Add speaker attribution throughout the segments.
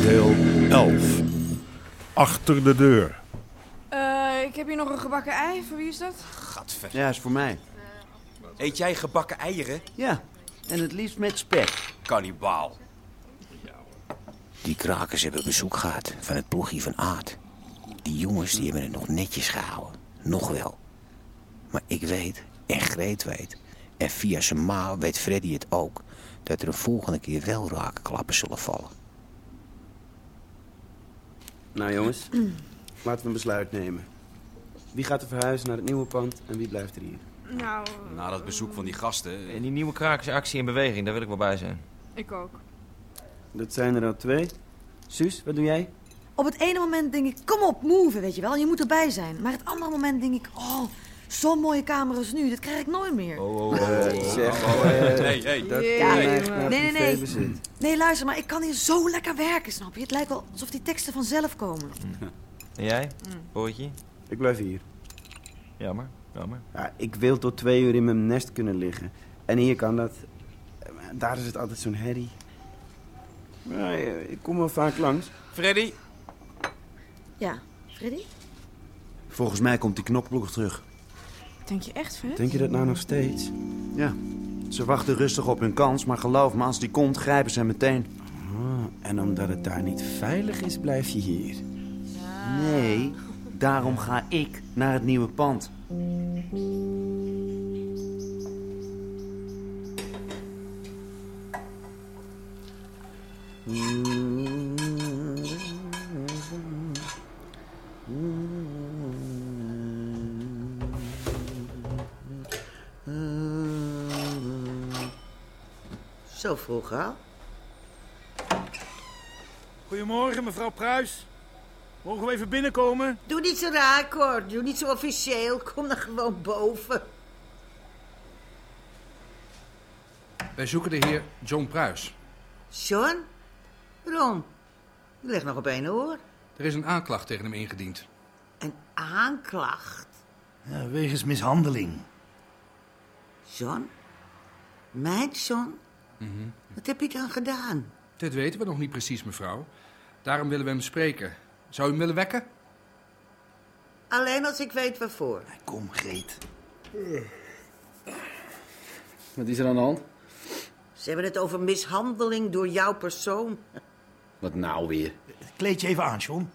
Speaker 1: Deel 11. Achter de deur.
Speaker 2: Eh, ik heb hier nog een gebakken ei. Voor wie is dat?
Speaker 3: Gadver.
Speaker 4: Ja, is voor mij.
Speaker 3: Eet jij gebakken eieren?
Speaker 4: Ja, en het liefst met spek.
Speaker 3: Kannibaal.
Speaker 5: Die krakers hebben bezoek gehad van het ploegje van Aard. Die jongens die hebben het nog netjes gehouden. Nog wel. Maar ik weet, en Greet weet, en via zijn ma weet Freddy het ook... dat er een volgende keer wel raakklappen zullen vallen.
Speaker 4: Nou jongens, laten we een besluit nemen. Wie gaat er verhuizen naar het nieuwe pand en wie blijft er hier?
Speaker 2: Nou,
Speaker 3: Na dat bezoek van die gasten. eh,
Speaker 6: En die nieuwe krakersactie in beweging, daar wil ik wel bij zijn.
Speaker 2: ik ook.
Speaker 4: Dat zijn er al twee. Suus, wat doe jij?
Speaker 7: Op het ene moment denk ik, kom op, move, weet je wel. Je moet erbij zijn. Maar het andere moment denk ik, oh, zo'n mooie camera is nu. Dat krijg ik nooit meer.
Speaker 6: Oh.
Speaker 4: oh. Zeg,
Speaker 3: Nee, hey,
Speaker 4: dat
Speaker 2: Jee,
Speaker 4: kan
Speaker 2: jongen.
Speaker 4: echt naar
Speaker 7: Nee, nee, nee.
Speaker 4: privébezit.
Speaker 7: Nee, luister, maar ik kan hier zo lekker werken, snap je? Het lijkt wel alsof die teksten vanzelf komen.
Speaker 6: En jij? Boortje?
Speaker 4: Ik blijf hier.
Speaker 6: Jammer, jammer.
Speaker 4: Ja, ik wil tot twee uur in mijn nest kunnen liggen. En hier kan dat. Eh, maar Daar is het altijd zo'n herrie. Ja, eh, ik kom wel vaak langs.
Speaker 3: Freddy?
Speaker 7: Ja, Freddy?
Speaker 5: Volgens mij komt die knokploeg terug.
Speaker 2: Denk je echt, Fred?
Speaker 4: Denk je dat nou nog steeds?
Speaker 5: Ja. Ze wachten rustig op hun kans, maar geloof me, als die komt, grijpen ze meteen.
Speaker 4: Ah, en omdat het daar niet veilig is, blijf je hier.
Speaker 5: Nee, daarom ga ik naar het nieuwe pand.
Speaker 8: Zo vroeg al?
Speaker 9: Goedemorgen, mevrouw Pruis. Mogen we even binnenkomen?
Speaker 8: Doe niet zo raar, hoor. Doe niet zo officieel. Kom dan gewoon boven.
Speaker 10: Wij zoeken de heer John Pruis.
Speaker 8: John? Ron, je ligt nog op één oor.
Speaker 10: Er is een aanklacht tegen hem ingediend.
Speaker 8: Een aanklacht.
Speaker 9: wegens mishandeling.
Speaker 8: John? Mijn John? Wat heb je dan gedaan?
Speaker 10: Dit weten we nog niet precies, mevrouw. Daarom willen we hem spreken. Zou u hem willen wekken?
Speaker 8: Alleen als ik weet waarvoor.
Speaker 9: Kom, Greet.
Speaker 4: Wat is er aan de hand?
Speaker 8: Ze hebben het over mishandeling door jouw persoon.
Speaker 4: Wat nou weer?
Speaker 9: Kleed je even aan, John.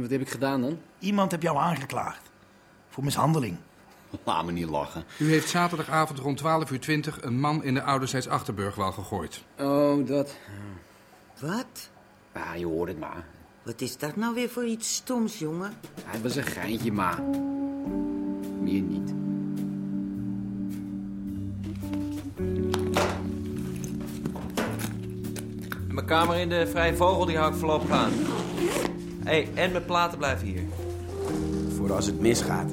Speaker 4: wat heb ik gedaan dan?
Speaker 9: Iemand heb jou aangeklaagd. Voor mishandeling.
Speaker 4: Laat me niet lachen.
Speaker 10: U heeft zaterdagavond rond 12.20 uur een man in de ouderzijds Achterburgwal gegooid.
Speaker 4: Oh, dat.
Speaker 8: Wat?
Speaker 4: Ah, je hoort het maar.
Speaker 8: Wat is dat nou weer voor iets stoms, jongen?
Speaker 4: Hij was een geintje, maar. Meer niet.
Speaker 6: Mijn kamer in de Vrije Vogel, die hou ik voorlopig aan. Hé, hey, en mijn platen blijven hier.
Speaker 4: Voor als het misgaat.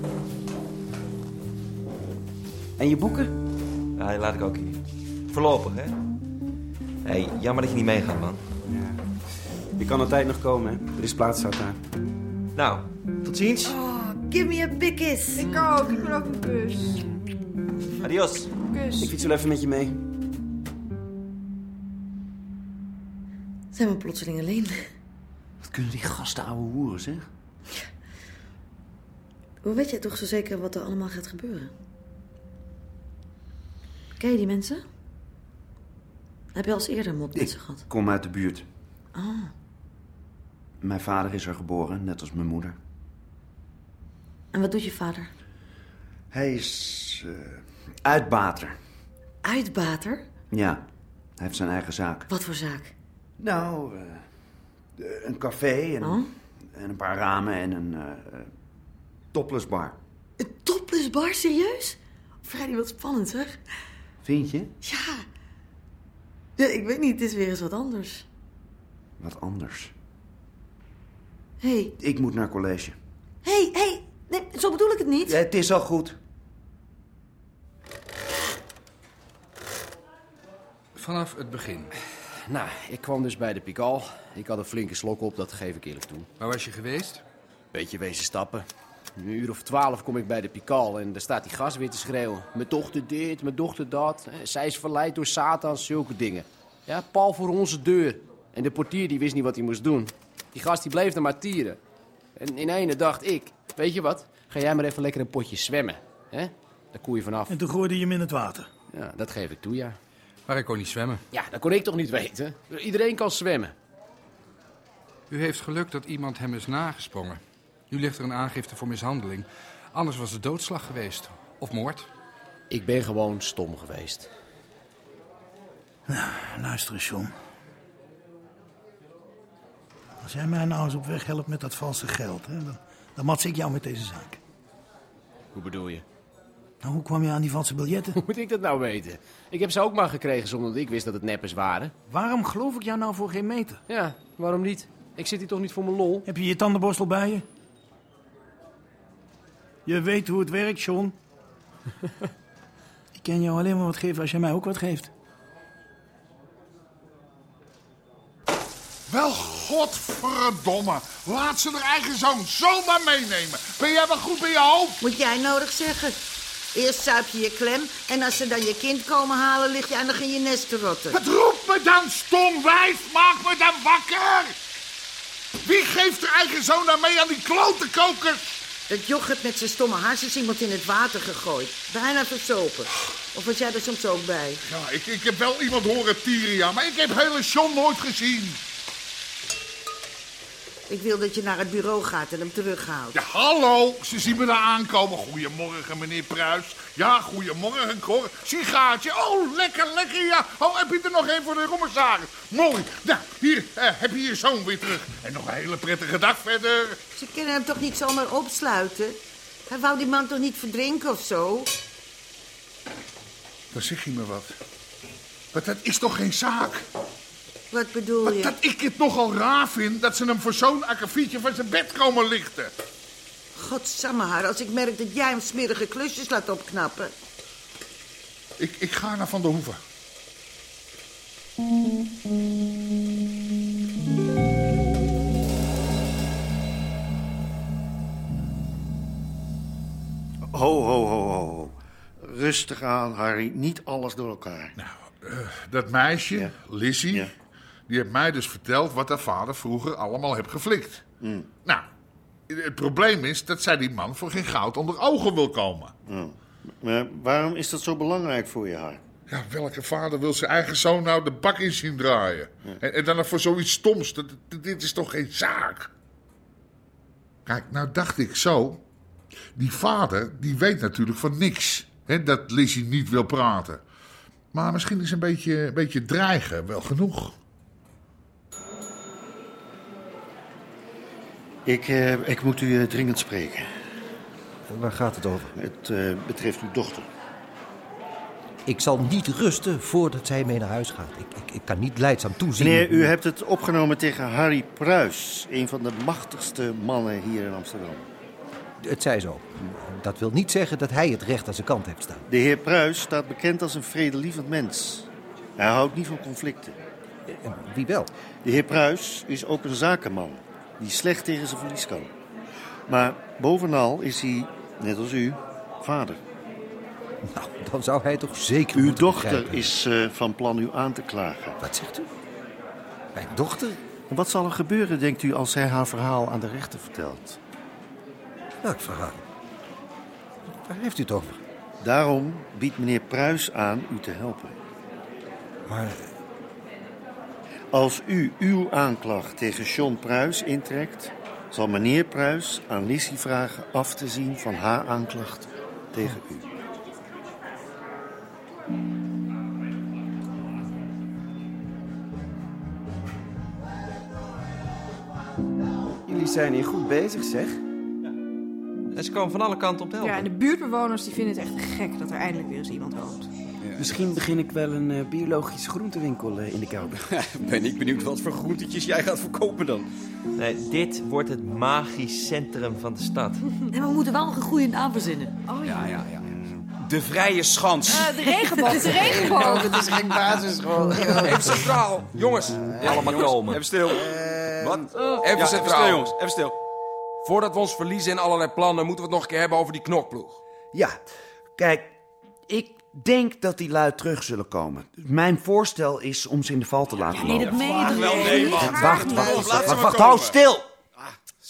Speaker 4: En je boeken?
Speaker 6: Ja, die laat ik ook hier. Voorlopig, hè? Hé, hey, jammer dat je niet meegaat, man.
Speaker 4: Je kan altijd nog komen, hè? Er is plaats zat daar.
Speaker 6: Nou, tot ziens.
Speaker 7: Oh, give me a big kiss.
Speaker 2: Ik ook. Ik wil ook een kus.
Speaker 6: Adios.
Speaker 4: Ik
Speaker 2: Kus.
Speaker 4: fiets wel even met je mee.
Speaker 7: Zijn we plotseling alleen?
Speaker 4: Wat kunnen die gasten ouwe hoeren, zeg?
Speaker 7: Hoe weet jij toch zo zeker wat er allemaal gaat gebeuren? Ken je die mensen? Heb je al eens eerder een mop met ze gehad?
Speaker 4: Kom uit de buurt. Ah. Mijn vader is er geboren, net als mijn moeder.
Speaker 7: En wat doet je vader?
Speaker 4: Hij is. eh, uitbater.
Speaker 7: Uitbater?
Speaker 4: Ja, hij heeft zijn eigen zaak.
Speaker 7: Wat voor zaak?
Speaker 4: Nou, eh, eh, een café en,
Speaker 7: Oh.
Speaker 4: en een paar ramen en een eh eh, topless bar.
Speaker 7: Een topless dus bar, serieus? Freddy, wat spannend, zeg.
Speaker 4: Vind je?
Speaker 7: Ja. Ja, Ik weet niet, het is weer eens wat anders.
Speaker 4: Wat anders.
Speaker 7: Hé, hey.
Speaker 4: Ik moet naar college.
Speaker 7: hé, hey, hé. Hey. Nee, zo bedoel ik het niet.
Speaker 4: Ja, het is al goed.
Speaker 10: Vanaf het begin.
Speaker 11: Nou, ik kwam dus bij de Pikal. Ik had een flinke slok op, dat geef ik eerlijk toe.
Speaker 10: Waar was je geweest?
Speaker 11: Beetje wezen stappen. Een uur of twaalf kom ik bij de Pikal en daar staat die gast weer te schreeuwen. Mijn dochter dit, mijn dochter dat. Eh, Zij is verleid door Satan, zulke dingen. Ja, pal voor onze deur. En de portier die wist niet wat hij moest doen. Die gast die bleef er maar tieren. En in ene dacht ik, weet je wat? Ga jij maar even lekker een potje zwemmen. Hè? Daar koel je vanaf.
Speaker 9: En toen gooide je hem in het water.
Speaker 11: Ja, dat geef ik toe, ja.
Speaker 10: Maar ik kon niet zwemmen.
Speaker 11: Ja, dat kon ik toch niet weten? Iedereen kan zwemmen.
Speaker 10: U heeft geluk dat iemand hem is nagesprongen. Nu ligt er een aangifte voor mishandeling. Anders was het doodslag geweest. Of moord.
Speaker 11: Ik ben gewoon stom geweest.
Speaker 12: Luister eens, John. Als jij mij nou eens op weg helpt met dat valse geld, hè, dan, dan mats ik jou met deze zaak.
Speaker 11: Hoe bedoel je?
Speaker 12: Nou, hoe kwam je aan die valse biljetten?
Speaker 11: Hoe moet ik dat nou weten? Ik heb ze ook maar gekregen zonder dat ik wist dat het neppers waren.
Speaker 12: Waarom geloof ik jou nou voor geen meter?
Speaker 11: Ja, waarom niet? Ik zit hier toch niet voor mijn lol?
Speaker 12: Heb je je tandenborstel bij je? Je weet hoe het werkt, John. ik kan jou alleen maar wat geven als jij mij ook wat geeft.
Speaker 13: Wel, godverdomme. Laat ze haar eigen zoon zomaar meenemen. Ben jij wel goed bij je hoofd?
Speaker 8: Moet jij nodig zeggen. Eerst zuip je je klem en als ze dan je kind komen halen, lig je nog in je nest te rotten.
Speaker 13: Wat roept me dan, stom wijf? Maak me dan wakker. Wie geeft haar eigen zoon nou mee aan die klote kokers?
Speaker 8: Dat joch heeft met zijn stomme hars is iemand in het water gegooid. Bijna verzopen. Of was jij er soms ook bij?
Speaker 13: Ja, ik, ik heb wel iemand horen tieren, ja, maar ik heb hele John nooit gezien.
Speaker 8: Ik wil dat je naar het bureau gaat en hem terughaalt.
Speaker 13: Ja, hallo. Ze zien me daar aankomen. Goedemorgen, meneer Pruis. Ja, goedemorgen, Cor. Sigaartje. Oh, lekker, lekker, ja. Oh, heb je er nog één voor de commissaris? Mooi. Nou, hier, eh, heb je je zoon weer terug. En nog een hele prettige dag verder.
Speaker 8: Ze kunnen hem toch niet zomaar opsluiten? Hij wou die man toch niet verdrinken of zo?
Speaker 13: Dan zeg je me wat. Maar dat is toch geen zaak?
Speaker 8: Wat bedoel je?
Speaker 13: Dat ik het nogal raar vind dat ze hem voor zo'n akkefietje van zijn bed komen lichten.
Speaker 8: Godsamme haar, als ik merk dat jij hem smerige klusjes laat opknappen.
Speaker 13: Ik, ik ga naar Van der Hoeven.
Speaker 14: Ho, ho, ho, ho. ho. Rustig aan, Harry. Niet alles door elkaar.
Speaker 13: Dat meisje, Lizzie, die heeft mij dus verteld wat haar vader vroeger allemaal heeft geflikt. Nou, het probleem is dat zij die man voor geen goud onder ogen wil komen.
Speaker 14: Ja. Maar waarom is dat zo belangrijk voor je, Harry?
Speaker 13: Ja, welke vader wil zijn eigen zoon nou de bak in zien draaien? En, en dan nog voor zoiets stoms. Dat, dat- dit is toch geen zaak? Kijk, nou dacht ik zo. Die vader, die weet natuurlijk van niks. Hè, dat Lizzie niet wil praten. Maar misschien is een beetje, een beetje dreigen wel genoeg.
Speaker 14: Ik, eh, ik moet u eh, dringend spreken. Waar gaat het over? Het eh, betreft uw dochter.
Speaker 15: Ik zal niet rusten voordat zij mee naar huis gaat. Ik, ik, ik kan niet leidzaam toezien.
Speaker 14: Meneer, u hebt het opgenomen tegen Harry Pruis, een van de machtigste mannen hier in Amsterdam.
Speaker 15: Het zij zo. Dat wil niet zeggen dat hij het recht aan zijn kant heeft staan.
Speaker 14: De heer Pruis staat bekend als een vredelievend mens. Hij houdt niet van conflicten.
Speaker 15: Eh, Wie wel?
Speaker 14: De heer Pruis is ook een zakenman die slecht tegen zijn verlies kan. Maar bovenal is hij, net als u, vader.
Speaker 15: Nou, dan zou hij toch zeker
Speaker 14: Uw
Speaker 15: moeten
Speaker 14: dochter
Speaker 15: begrijpen.
Speaker 14: is eh, van plan u aan te klagen.
Speaker 15: Wat zegt u? Mijn dochter?
Speaker 14: En wat zal er gebeuren, denkt u, als zij haar verhaal aan de rechter vertelt?
Speaker 15: Welk verhaal? Waar heeft u het over?
Speaker 14: Daarom biedt meneer Pruis aan u te helpen.
Speaker 15: Maar...
Speaker 14: Als u uw aanklacht tegen John Pruis intrekt, zal meneer Pruis aan Lissy vragen af te zien van haar aanklacht tegen u.
Speaker 4: Jullie zijn hier goed bezig, zeg.
Speaker 6: En ze komen van alle kanten op helpen.
Speaker 2: Ja, en de buurtbewoners die vinden het echt gek dat er eindelijk weer eens iemand woont.
Speaker 4: Misschien begin ik wel een eh, biologische groentewinkel eh, in de kelder.
Speaker 6: Ben ik benieuwd wat voor groentetjes jij gaat verkopen dan. Nee, dit wordt het magisch centrum van de stad.
Speaker 7: Nee, maar we moeten wel een goede naam verzinnen. Oh ja.
Speaker 6: ja, ja. De Vrije Schans.
Speaker 2: Eh,
Speaker 7: de regenboog, de regenboog.
Speaker 4: Het is geen basisschool.
Speaker 3: Even centraal. Jongens, allemaal komen. Even stil. Wat?
Speaker 16: Even
Speaker 3: Ja,
Speaker 16: centraal.
Speaker 3: stil, jongens. Even stil.
Speaker 16: Voordat we ons verliezen in allerlei plannen, moeten we het nog een keer hebben over die knokploeg.
Speaker 17: Ja, kijk, ik denk dat die lui terug zullen komen. Mijn voorstel is om ze in de val te laten
Speaker 7: nee,
Speaker 17: lopen.
Speaker 7: dat meen je toch
Speaker 17: Ja,
Speaker 7: niet?
Speaker 17: wacht,
Speaker 7: Graag
Speaker 17: wacht,
Speaker 7: niet.
Speaker 17: wacht,
Speaker 7: Laat ze
Speaker 17: wacht,
Speaker 7: maar
Speaker 17: wacht,
Speaker 7: komen. Ah,
Speaker 17: hou stil!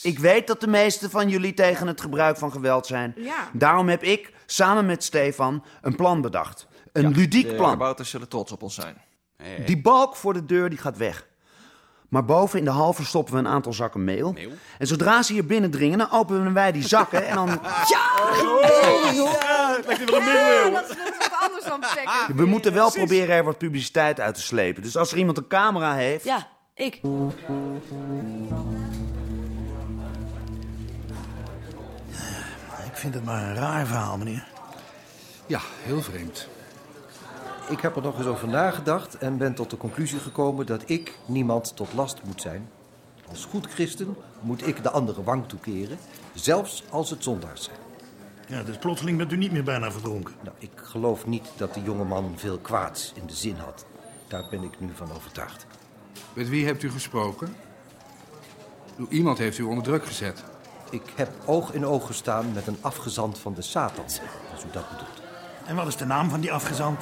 Speaker 17: Ik weet dat de meesten van jullie tegen het gebruik van geweld zijn.
Speaker 6: Ja.
Speaker 17: Daarom heb ik samen met Stefan een plan bedacht. Een ludiek
Speaker 6: de
Speaker 17: plan.
Speaker 6: kabouters zullen trots op ons zijn.
Speaker 17: Die balk voor de deur die gaat weg. Maar boven in de hal verstoppen we een aantal zakken meel. En zodra ze hier binnendringen, dan openen wij die zakken en dan...
Speaker 2: Ja,
Speaker 9: lijkt
Speaker 2: wel een middeleeuwen. dat is dat is wat anders dan pek.
Speaker 17: We moeten wel proberen er wat publiciteit uit te slepen. Dus als er iemand een camera heeft...
Speaker 7: Ja, ik.
Speaker 12: Eh, Ik vind het maar een raar verhaal, meneer.
Speaker 10: Ja, heel vreemd.
Speaker 15: Ik heb er nog eens over nagedacht en ben tot de conclusie gekomen dat ik niemand tot last moet zijn. Als goed christen moet ik de andere wang toekeren, Dus zelfs als het zondags zijn.
Speaker 12: Ja, dus plotseling bent u niet meer bijna verdronken.
Speaker 15: Nou, ik geloof niet dat de jongeman veel kwaads in de zin had. Daar ben ik nu van overtuigd.
Speaker 10: Met wie hebt u gesproken? Door Iemand heeft u onder druk gezet.
Speaker 15: Ik heb oog in oog gestaan met een afgezant van de Satan, als u dat bedoelt.
Speaker 12: En wat is de naam van die afgezant?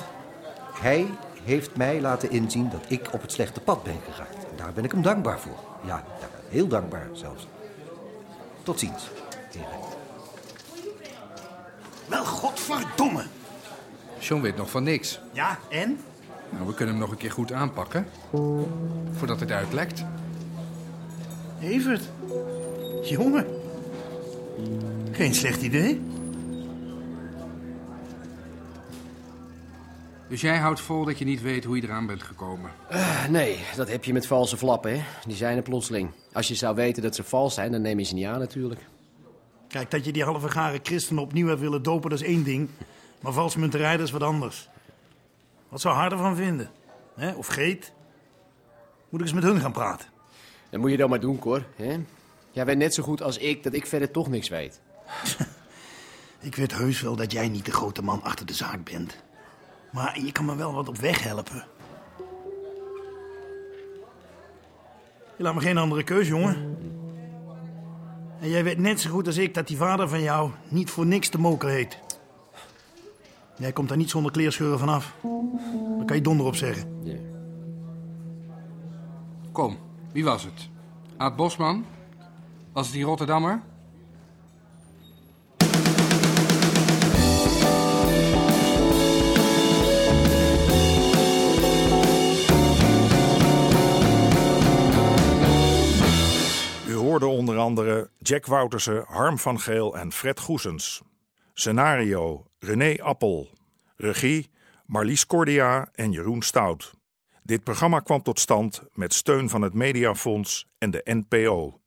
Speaker 15: Hij heeft mij laten inzien dat ik op het slechte pad ben geraakt. En daar ben ik hem dankbaar voor. Ja, ja, heel dankbaar zelfs. Tot ziens, heren.
Speaker 12: Wel, godverdomme.
Speaker 10: John weet nog van niks.
Speaker 12: Ja, en?
Speaker 10: Nou, we kunnen hem nog een keer goed aanpakken. Voordat het uitlekt.
Speaker 12: Evert. Jongen. Geen slecht idee.
Speaker 10: Dus jij houdt vol dat je niet weet hoe je eraan bent gekomen.
Speaker 11: Eh, nee, dat heb je met valse flappen, hè. Die zijn er plotseling. Als je zou weten dat ze vals zijn, dan neem je ze niet aan natuurlijk.
Speaker 12: Kijk, dat je die halve garen christenen opnieuw hebt willen dopen, dat is één ding. Maar valsmunterij, dat is wat anders. Wat zou Harder van vinden? Hè? Of Geet? Moet ik eens met hun gaan praten?
Speaker 11: Dat moet je dan maar doen, Cor. Hè? Jij weet net zo goed als ik dat ik verder toch niks weet.
Speaker 12: Ik weet heus wel dat jij niet de grote man achter de zaak bent. Maar je kan me wel wat op weg helpen. Je laat me geen andere keus, jongen. En jij weet net zo goed als ik dat die vader van jou niet voor niks de moker heet. Jij komt daar niet zonder kleerscheuren vanaf. Daar kan je donder op zeggen.
Speaker 10: Kom, wie was het? Aad Bosman? Was het die Rotterdammer?
Speaker 1: U hoorde onder andere Jack Woutersen, Harm van Geel en Fred Goesens. Scenario René Appel. Regie Marlies Cordia en Jeroen Stout. Dit programma kwam tot stand met steun van het Mediafonds en de NPO.